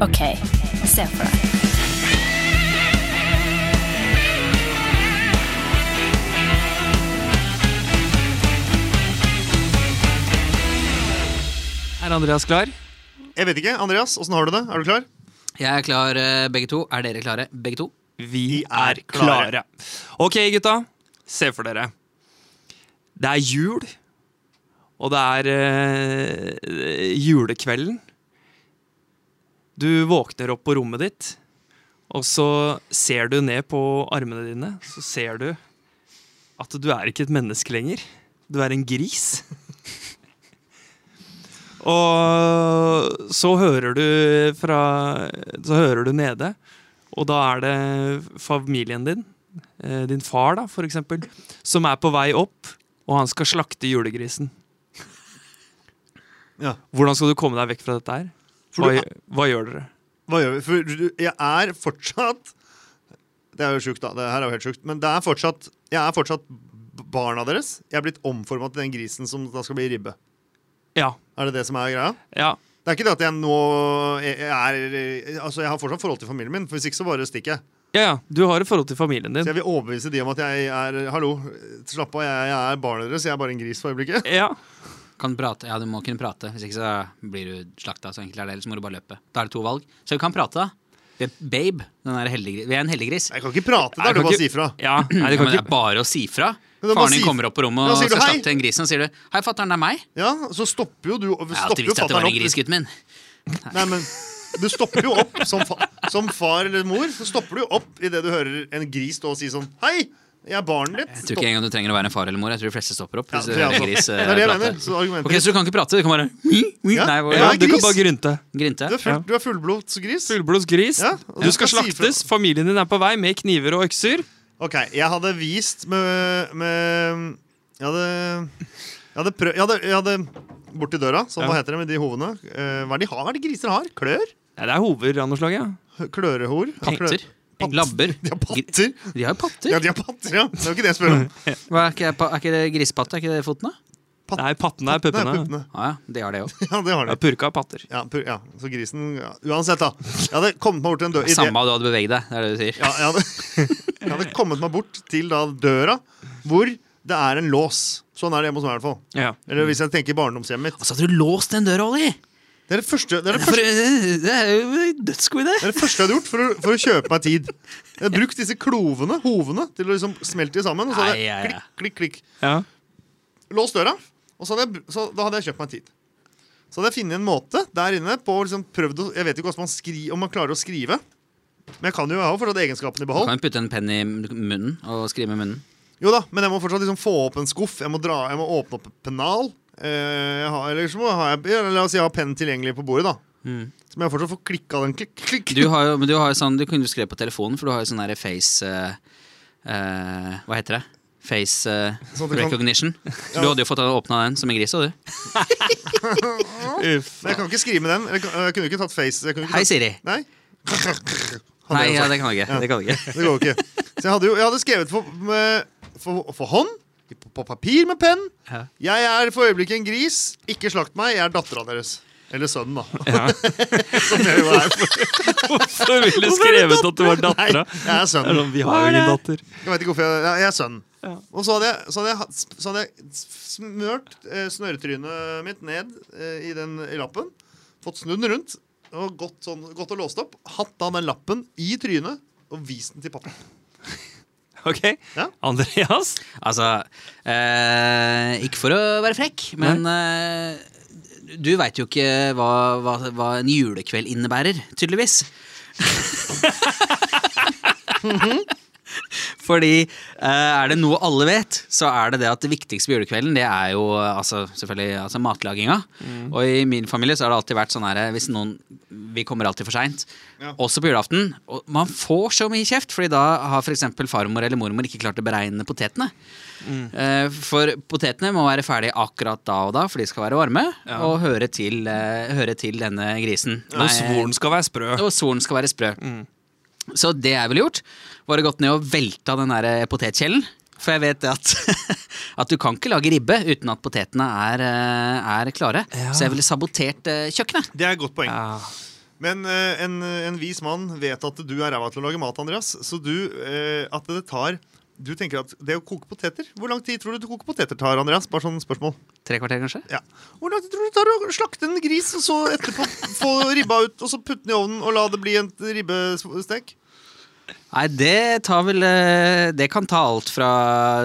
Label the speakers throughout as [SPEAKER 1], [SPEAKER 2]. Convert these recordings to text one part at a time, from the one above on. [SPEAKER 1] OK, se for deg.
[SPEAKER 2] Er Andreas klar?
[SPEAKER 3] Jeg vet ikke. Andreas, åssen har du det? Er du klar?
[SPEAKER 2] Jeg er klar, eh, begge to. Er dere klare, begge to? Vi
[SPEAKER 3] er klare.
[SPEAKER 2] Ok, gutta. Se for dere. Det er jul, og det er eh, julekvelden. Du våkner opp på rommet ditt, og så ser du ned på armene dine. Så ser du at du er ikke et menneske lenger. Du er en gris. Og så hører du fra Så hører du nede, og da er det familien din, eh, din far da, for eksempel, som er på vei opp, og han skal slakte julegrisen.
[SPEAKER 3] Ja.
[SPEAKER 2] Hvordan skal du komme deg vekk fra dette her? Hva,
[SPEAKER 3] For du,
[SPEAKER 2] gjø- hva gjør dere?
[SPEAKER 3] hva gjør vi? For du- jeg er fortsatt Det er jo sjukt, da. Det her er jo helt sjukt. Men det er fortsatt, jeg er fortsatt b- barna deres. Jeg er blitt omforma til den grisen som da skal bli ribbe.
[SPEAKER 2] Ja,
[SPEAKER 3] Er det det som er greia?
[SPEAKER 2] ja,
[SPEAKER 3] Det er ikke det at jeg nå jeg er Altså, jeg har fortsatt forhold til familien min, for hvis ikke så bare stikker jeg.
[SPEAKER 2] ja, ja. du har et forhold til familien
[SPEAKER 3] Så jeg
[SPEAKER 2] din.
[SPEAKER 3] vil overbevise de om at jeg er Hallo, slapp av, jeg, jeg er barnet deres, jeg er bare en gris for øyeblikket.
[SPEAKER 2] Ja,
[SPEAKER 4] Kan prate, ja, du må kunne prate. Hvis ikke så blir du slakta. Så enkelt er det. Ellers må du bare løpe. Da er det to valg. Så vi kan prate, da. Vi er Babe, den er heldiggris. Vi er en heldiggris.
[SPEAKER 3] Jeg kan ikke prate, det
[SPEAKER 2] Jeg kan
[SPEAKER 3] er det å bare
[SPEAKER 2] ikke-
[SPEAKER 3] si fra.
[SPEAKER 2] ja. Nei,
[SPEAKER 4] Ja,
[SPEAKER 2] det
[SPEAKER 4] men
[SPEAKER 2] kan
[SPEAKER 4] det
[SPEAKER 2] ikke
[SPEAKER 4] er bare å si fra.
[SPEAKER 3] Men det er bare å
[SPEAKER 4] Faren din
[SPEAKER 3] si-
[SPEAKER 4] kommer opp på rommet
[SPEAKER 3] Ja,
[SPEAKER 4] og
[SPEAKER 3] sier du
[SPEAKER 4] skal
[SPEAKER 3] hei?
[SPEAKER 4] slakte en gris, og sier du 'Hei, fatter'n, det er meg'.
[SPEAKER 3] Ja, så stopper jo du
[SPEAKER 4] Jeg har
[SPEAKER 3] stopper jo
[SPEAKER 4] alltid visst at det var
[SPEAKER 3] fatteren
[SPEAKER 4] en gris,
[SPEAKER 3] opp.
[SPEAKER 4] gutten min.
[SPEAKER 3] Nei, men du stopper jo opp som, fa som far eller mor. Så stopper du opp idet du hører en gris stå og si sånn Hei, jeg er barnet ditt.
[SPEAKER 4] Jeg tror ikke engang du trenger å være en far eller mor. Jeg tror de fleste stopper opp.
[SPEAKER 3] Ja,
[SPEAKER 4] Hvis
[SPEAKER 3] det tror jeg
[SPEAKER 4] du hører en
[SPEAKER 3] også.
[SPEAKER 4] gris
[SPEAKER 3] Det
[SPEAKER 4] eh,
[SPEAKER 3] er det jeg
[SPEAKER 4] prate.
[SPEAKER 3] mener. Så argumentet
[SPEAKER 4] Ok, Så du kan ikke prate? Du kan bare
[SPEAKER 3] Ja.
[SPEAKER 4] Nei, hvor-
[SPEAKER 3] Ja,
[SPEAKER 2] ja, Du kan
[SPEAKER 3] gris.
[SPEAKER 2] bare grynte.
[SPEAKER 4] Grinte.
[SPEAKER 3] Du er, full, du er fullblods gris.
[SPEAKER 2] Fullblods gris.
[SPEAKER 3] Ja, og
[SPEAKER 2] Du
[SPEAKER 3] du
[SPEAKER 2] skal
[SPEAKER 3] skal si fra.
[SPEAKER 2] slaktes, familien din er på vei med kniver og økser.
[SPEAKER 3] Ok, jeg hadde vist med, med Jeg hadde Jeg hadde prøvd jeg, hadde- jeg hadde borti døra, sånn, hva
[SPEAKER 2] Ja.
[SPEAKER 3] heter det med de hovene? Eh, hva er det de har? Hva er det griser har? Klør?
[SPEAKER 2] Ja, det er hover av noe slag, ja.
[SPEAKER 3] Hø- Klørehor?
[SPEAKER 4] Patter.
[SPEAKER 3] Patt.
[SPEAKER 4] Labber.
[SPEAKER 3] De har
[SPEAKER 4] Gri-
[SPEAKER 3] patter.
[SPEAKER 4] De
[SPEAKER 3] Ja,
[SPEAKER 4] har jo patter.
[SPEAKER 3] de har patter, ja. Det er jo ikke det jeg spør om.
[SPEAKER 4] Hva, er, ikke, pa- er ikke det grisepatte? Er ikke det foten, da?
[SPEAKER 3] Pat-
[SPEAKER 2] Nei, pattene er
[SPEAKER 3] Det er
[SPEAKER 2] puppene.
[SPEAKER 3] puppene.
[SPEAKER 4] Ja, ja, de har det òg.
[SPEAKER 3] Ja, det har
[SPEAKER 2] Ja,
[SPEAKER 3] de.
[SPEAKER 2] purka er patter.
[SPEAKER 3] Ja, pu ja. Så grisen ja. Uansett, da. Jeg hadde kommet meg bort til en dør i det-
[SPEAKER 4] Samme av du hadde beveget deg, det er det du sier.
[SPEAKER 3] Ja, jeg, hadde, jeg hadde kommet meg bort til da døra hvor det er en lås. Sånn er det hjemme hos meg. i hvert fall
[SPEAKER 2] Ja.
[SPEAKER 3] Eller hvis jeg tenker barndomshjemmet mitt.
[SPEAKER 4] Og så hadde du låst den døra, Olli!
[SPEAKER 3] Det er det første, det er det
[SPEAKER 4] For,
[SPEAKER 3] første,
[SPEAKER 4] eh, Det er jo dødsgod idé!
[SPEAKER 3] det er det første jeg hadde gjort for å, for å kjøpe meg tid. Jeg hadde brukt disse klovene, hovene, til å liksom smelte de sammen. Og så hadde
[SPEAKER 4] Ai, ai,
[SPEAKER 3] jeg
[SPEAKER 4] ai.
[SPEAKER 3] klikk, klikk, klikk.
[SPEAKER 2] Ja.
[SPEAKER 3] Låst døra. Og så hadde jeg, br- så, da hadde jeg kjøpt meg tid. Så hadde jeg funnet en måte der inne på å liksom prøvd å, Jeg vet ikke hvordan man skri, om man klarer å skrive. Men jeg kan jo jeg har jo fortsatt egenskapene i
[SPEAKER 4] Du
[SPEAKER 3] behold.
[SPEAKER 4] kan jo putte en penn i munnen og skrive med munnen.
[SPEAKER 3] Jo da, men jeg må fortsatt liksom få opp en skuff. Jeg må, dra, jeg må åpne opp et pennal. Eh, jeg har, eller så må jeg, ha- eller la oss si jeg har pennen tilgjengelig på bordet, da. Så må jeg fortsatt få klikka den. Klikk, klikk.
[SPEAKER 4] Mm. Du har jo, men du har jo sånn, du kunne jo skrevet på telefonen, for du har jo sånn der face eh, eh, Hva heter det? Face eh,
[SPEAKER 3] Sånn at du kan-
[SPEAKER 4] recognition. Så du hadde jo fått åpna den som en gris, hadde du.
[SPEAKER 2] Uff.
[SPEAKER 3] Men jeg kan ikke skrive med den. Jeg, kan, jeg kunne ikke tatt face. Jeg kunne ikke
[SPEAKER 4] Hei,
[SPEAKER 3] tatt,
[SPEAKER 4] Siri.
[SPEAKER 3] nei. Hadde
[SPEAKER 4] Nei,
[SPEAKER 3] jeg
[SPEAKER 4] ja,
[SPEAKER 3] sagt.
[SPEAKER 4] det kan du ikke. Det kan du ikke.
[SPEAKER 3] det går jo ikke. Så jeg hadde, jo, jeg hadde skrevet for, med, for, for hånd, på, på papir med penn.
[SPEAKER 4] Ja.
[SPEAKER 3] Jeg er for øyeblikket en gris. Ikke slakt meg, jeg er dattera deres. Eller sønnen, da.
[SPEAKER 2] Ja.
[SPEAKER 3] Som jeg jo er.
[SPEAKER 2] Så ville du skrevet at du var dattera.
[SPEAKER 3] Jeg er sønnen.
[SPEAKER 2] Vi har jo ingen datter.
[SPEAKER 3] Jeg vet ikke hvorfor jeg, jeg, jeg er sønnen.
[SPEAKER 2] Ja.
[SPEAKER 3] Og så hadde jeg, så hadde jeg, hatt- så hadde jeg smørt eh, snørretrynet mitt ned eh, i den i lappen. Fått snudd den rundt og gått, sånn, gått og låst opp. Hatt da den lappen i trynet og vist den til pappa.
[SPEAKER 2] Ok,
[SPEAKER 3] Ja.
[SPEAKER 2] Andreas?
[SPEAKER 4] Altså eh, Ikke for å være frekk, men eh, du veit jo ikke hva, hva, hva en julekveld innebærer, tydeligvis. Fordi eh, er det noe alle vet, så er det det at det viktigste på julekvelden, det er jo eh, altså, selvfølgelig altså matlaginga. Og i min familie så har det alltid vært sånn her eh, hvis noen Vi kommer alltid for seint.
[SPEAKER 3] Ja.
[SPEAKER 4] Også på julaften. Og man får så mye kjeft, Fordi da har f.eks. farmor eller mormor ikke klart å beregne potetene. Eh, For potetene må være ferdige akkurat da og da, for de skal være varme og høre til, eh, høre til denne grisen.
[SPEAKER 2] Og svoren skal være sprø.
[SPEAKER 4] Og solen skal være sprø. Så det jeg ville gjort, var å gått ned og velta den der potetkjelen. For jeg vet det at, at du kan ikke lage ribbe uten at potetene er, eh, er klare.
[SPEAKER 2] Ja.
[SPEAKER 4] Så jeg ville sabotert eh, kjøkkenet.
[SPEAKER 3] Det er et godt poeng.
[SPEAKER 2] Ja.
[SPEAKER 3] Men eh, en, en vis mann vet at du er ræva til å lage mat, Andreas. Så du, eh, at det tar Du tenker at det å koke poteter Hvor lang tid tror du det å koke poteter tar, Andreas? Bare sånn spørsmål.
[SPEAKER 4] Tre kvarter, kanskje?
[SPEAKER 3] Ja. Hvor lang tid tror du det tar å slakte en gris, og så etterpå få ribba ut, og så putte den i ovnen og la det bli en ribbestek?
[SPEAKER 4] Nei, det tar vel eh, Det kan ta alt fra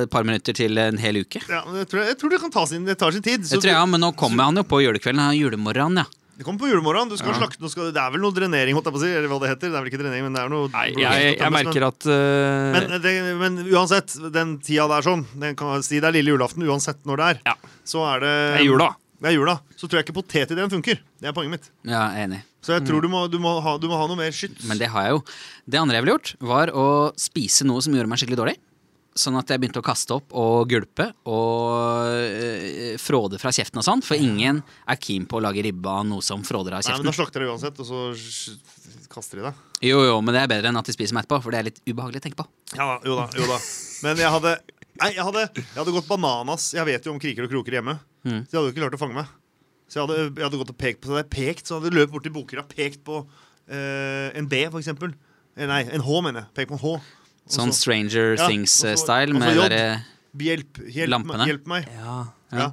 [SPEAKER 4] et par minutter til en hel uke.
[SPEAKER 3] Ja, men jeg tror, jeg tror det kan ta sin, det tar sin tid.
[SPEAKER 4] Jeg
[SPEAKER 3] Så
[SPEAKER 4] tror, ja, Men nå kommer han jo på julekvelden. Han har julemorgen, ja.
[SPEAKER 3] Det kommer på julemorgenen. Du skal
[SPEAKER 4] Ja.
[SPEAKER 3] slakte, du skal, det er vel noe drenering, holdt jeg på å si. Eller hva det heter. Det er vel ikke drenering, men det er noe
[SPEAKER 2] Nei, jeg, jeg, jeg merker at eh,
[SPEAKER 3] men, det, men uansett, den tida der sånn den kan Si det er lille julaften uansett når det er.
[SPEAKER 2] Ja.
[SPEAKER 3] Så er det
[SPEAKER 2] det er jula.
[SPEAKER 3] Det er jula. Så tror jeg ikke potetideen funker. Det er poenget mitt.
[SPEAKER 4] Ja, Enig.
[SPEAKER 3] Så jeg
[SPEAKER 2] Mm.
[SPEAKER 3] tror du må, du må, ha, du må ha noe mer skyts.
[SPEAKER 4] Men det har jeg jo. Det andre jeg ville gjort, var å spise noe som gjorde meg skikkelig dårlig. Sånn at jeg begynte å kaste opp og gulpe og eh, fråde fra kjeften og sånn. For ingen er keen på å lage ribbe av noe som fråder av
[SPEAKER 3] Nei, men
[SPEAKER 4] kjeften.
[SPEAKER 3] Da slakter de uansett, og så sj- kaster de deg.
[SPEAKER 4] Jo, jo, men det er bedre enn at de spiser meg etterpå, for det er litt ubehagelig å tenke på.
[SPEAKER 3] Ja da, jo da, jo da. Men jeg hadde Nei, jeg hadde, jeg hadde gått bananas. Jeg vet jo om kriker og kroker hjemme.
[SPEAKER 4] Mm.
[SPEAKER 3] Så jeg hadde jo ikke klart å fange meg. Så jeg hadde, jeg hadde gått og pekt på så hadde jeg pekt, så hadde jeg løpt bort til boker og pekt på eh, en B, for eksempel. Eh, Nei, en H, mener jeg. Pekt på en H. Og
[SPEAKER 4] Sånn
[SPEAKER 3] så,
[SPEAKER 4] Stranger
[SPEAKER 3] Ja, og så-
[SPEAKER 4] Things-style.
[SPEAKER 3] og så
[SPEAKER 4] med eh,
[SPEAKER 3] jobb.
[SPEAKER 4] derre
[SPEAKER 3] hjelp, hjelp,
[SPEAKER 4] Lampene.
[SPEAKER 3] Hjelp meg.
[SPEAKER 2] Ja.
[SPEAKER 3] Ja.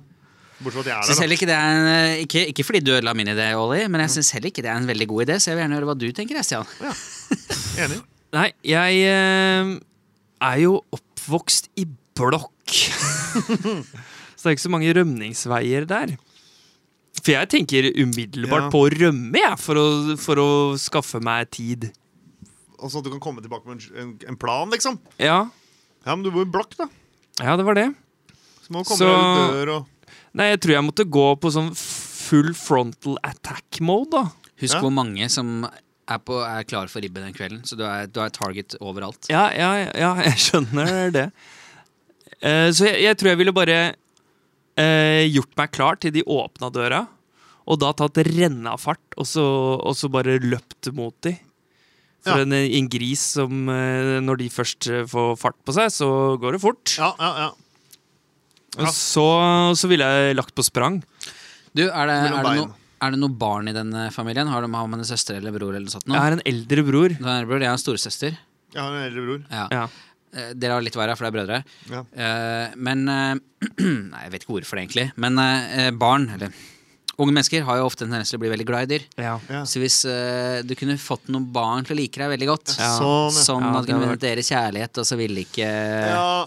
[SPEAKER 3] Bortsett fra at jeg
[SPEAKER 4] Synes
[SPEAKER 3] er der,
[SPEAKER 4] heller ikke, det er en, eh, ikke, ikke fordi du ødela min idé, Olli, men
[SPEAKER 3] Mhm.
[SPEAKER 4] jeg syns heller ikke det er en veldig god idé. Så jeg vil gjerne høre hva du tenker, jeg, Stian.
[SPEAKER 3] da. Enig.
[SPEAKER 2] Nei, jeg eh, er jo oppvokst i blokk. så det er ikke så mange rømningsveier der. For jeg tenker umiddelbart
[SPEAKER 3] Ja.
[SPEAKER 2] på å rømme, jeg, for å, for å skaffe meg tid.
[SPEAKER 3] Og sånn at du kan komme tilbake med en, en, en plan, liksom.
[SPEAKER 2] Ja,
[SPEAKER 3] Ja, men du bor i blokk, da.
[SPEAKER 2] ja det var det.
[SPEAKER 3] Så må du komme
[SPEAKER 2] Så-
[SPEAKER 3] deg ut dør og
[SPEAKER 2] Nei, jeg tror jeg måtte gå på sånn full frontal attack mode, da.
[SPEAKER 4] Husk
[SPEAKER 3] Ja.
[SPEAKER 4] hvor mange som er, på, er klar for ribbe den kvelden. Så du er, du er target overalt.
[SPEAKER 2] Ja, ja, ja jeg skjønner det. Eh, så jeg, jeg tror jeg ville bare eh, gjort meg klar til de åpna døra, og da tatt renna fart, og så, og så bare løpt mot de. For
[SPEAKER 3] Ja.
[SPEAKER 2] en, en gris som eh, Når de først eh, får fart på seg, så går det fort.
[SPEAKER 3] Ja, ja, ja. ja.
[SPEAKER 2] Og så, så ville jeg lagt på sprang.
[SPEAKER 4] Du, er det,
[SPEAKER 3] Mellom
[SPEAKER 4] er det,
[SPEAKER 3] bein.
[SPEAKER 4] no, er det noen barn i den eh, familien? Har, de, har man en søster eller bror eller noe sånt? nå?
[SPEAKER 2] Jeg har en eldre bror.
[SPEAKER 4] Du har en bror, jeg har en storesøster.
[SPEAKER 3] Jeg har en eldre bror.
[SPEAKER 4] Ja.
[SPEAKER 2] Ja.
[SPEAKER 4] Eh, Dere har litt hver, ja, for det er brødre.
[SPEAKER 3] Ja.
[SPEAKER 4] Eh, men eh, Nei, jeg vet ikke hvorfor det, egentlig. Men eh, barn, eller unge mennesker, har jo ofte en tendens til å bli veldig glad i dyr.
[SPEAKER 2] Ja.
[SPEAKER 3] Ja.
[SPEAKER 4] Så hvis eh, du kunne fått noen barn til å like deg veldig godt,
[SPEAKER 2] Ja.
[SPEAKER 3] Sånn, ja.
[SPEAKER 4] sånn
[SPEAKER 2] Ja,
[SPEAKER 4] at
[SPEAKER 2] det hadde vært-
[SPEAKER 4] kunne dere kjærlighet, og så ville ikke
[SPEAKER 3] Ja,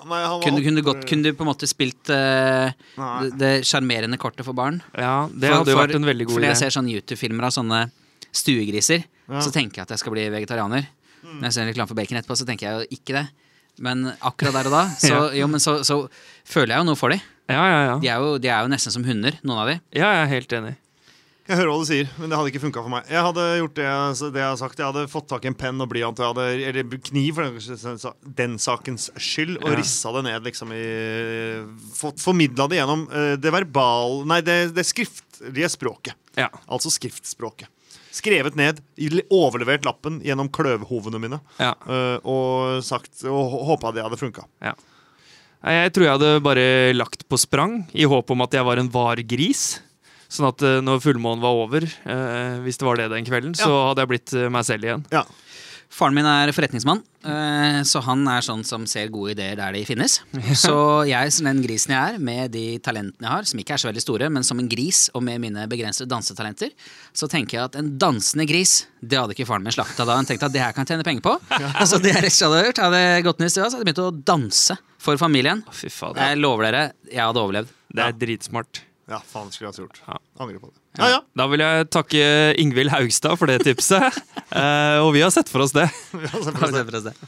[SPEAKER 3] nei, han var
[SPEAKER 4] kunne, kunne, du
[SPEAKER 3] opp-
[SPEAKER 4] godt, kunne du på en måte spilt eh,
[SPEAKER 3] Nei.
[SPEAKER 4] det- det sjarmerende kortet for barn?
[SPEAKER 2] ja, det
[SPEAKER 4] For-
[SPEAKER 2] hadde jo
[SPEAKER 4] for-
[SPEAKER 2] vært en veldig god
[SPEAKER 4] Fordi
[SPEAKER 2] idé.
[SPEAKER 4] jeg ser sånne YouTube-filmer av sånne stuegriser,
[SPEAKER 3] Ja.
[SPEAKER 4] så tenker jeg at jeg skal bli vegetarianer. Når jeg ser reklame for bacon etterpå, så tenker jeg jo ikke det. Men akkurat der og da, så, jo, men så, så føler jeg jo noe for dem.
[SPEAKER 2] Ja, ja, ja.
[SPEAKER 4] De er jo, de er jo nesten som hunder, noen av de.
[SPEAKER 2] Ja, jeg er helt enig.
[SPEAKER 3] Jeg hører hva du sier, men det hadde ikke funka for meg. Jeg hadde gjort det, jeg- så det jeg har sagt. Jeg hadde fått tak i en penn og blyant, og jeg hadde, eller kniv for den, den sakens skyld, og
[SPEAKER 2] Ja.
[SPEAKER 3] rissa det ned, liksom i Formidla det gjennom eh, det verbal... Nei, det, det skriftlige språket.
[SPEAKER 2] Ja.
[SPEAKER 3] Altså skriftspråket. Skrevet ned, i- overlevert lappen gjennom kløvhovene mine,
[SPEAKER 2] Ja,
[SPEAKER 3] eh, og sagt Og håpa det hadde funka.
[SPEAKER 2] ja. Nei, Jeg tror jeg hadde bare lagt på sprang i håp om at jeg var en vargris. Sånn at eh, når fullmånen var over, eh, hvis det var det den kvelden, så hadde jeg blitt eh, meg selv igjen.
[SPEAKER 3] Ja.
[SPEAKER 4] Faren min er forretningsmann, eh, så han er sånn som ser gode ideer der de finnes. Så jeg, som den grisen jeg er, med de talentene jeg har, som ikke er så veldig store, men som en gris, og med mine begrensede dansetalenter, så tenker jeg at en dansende gris, det hadde ikke faren min slakta da. Han tenkte at det her kan jeg tjene penger på. Så det jeg rett og slett hadde gjort, hadde jeg gått ned i stua, så hadde jeg begynt å danse for familien.
[SPEAKER 2] Å, Fy faen,
[SPEAKER 4] Jeg lover dere, jeg hadde overlevd.
[SPEAKER 2] Det er dritsmart.
[SPEAKER 3] Ja, faen skulle jeg ha gjort.
[SPEAKER 2] Ja.
[SPEAKER 3] Angrer på det. Ja, ja.
[SPEAKER 2] Da vil jeg takke Ingvild Haugstad for det tipset. eh, og vi har sett for oss det.
[SPEAKER 3] Vi har sett på det.
[SPEAKER 4] Bare se for oss det.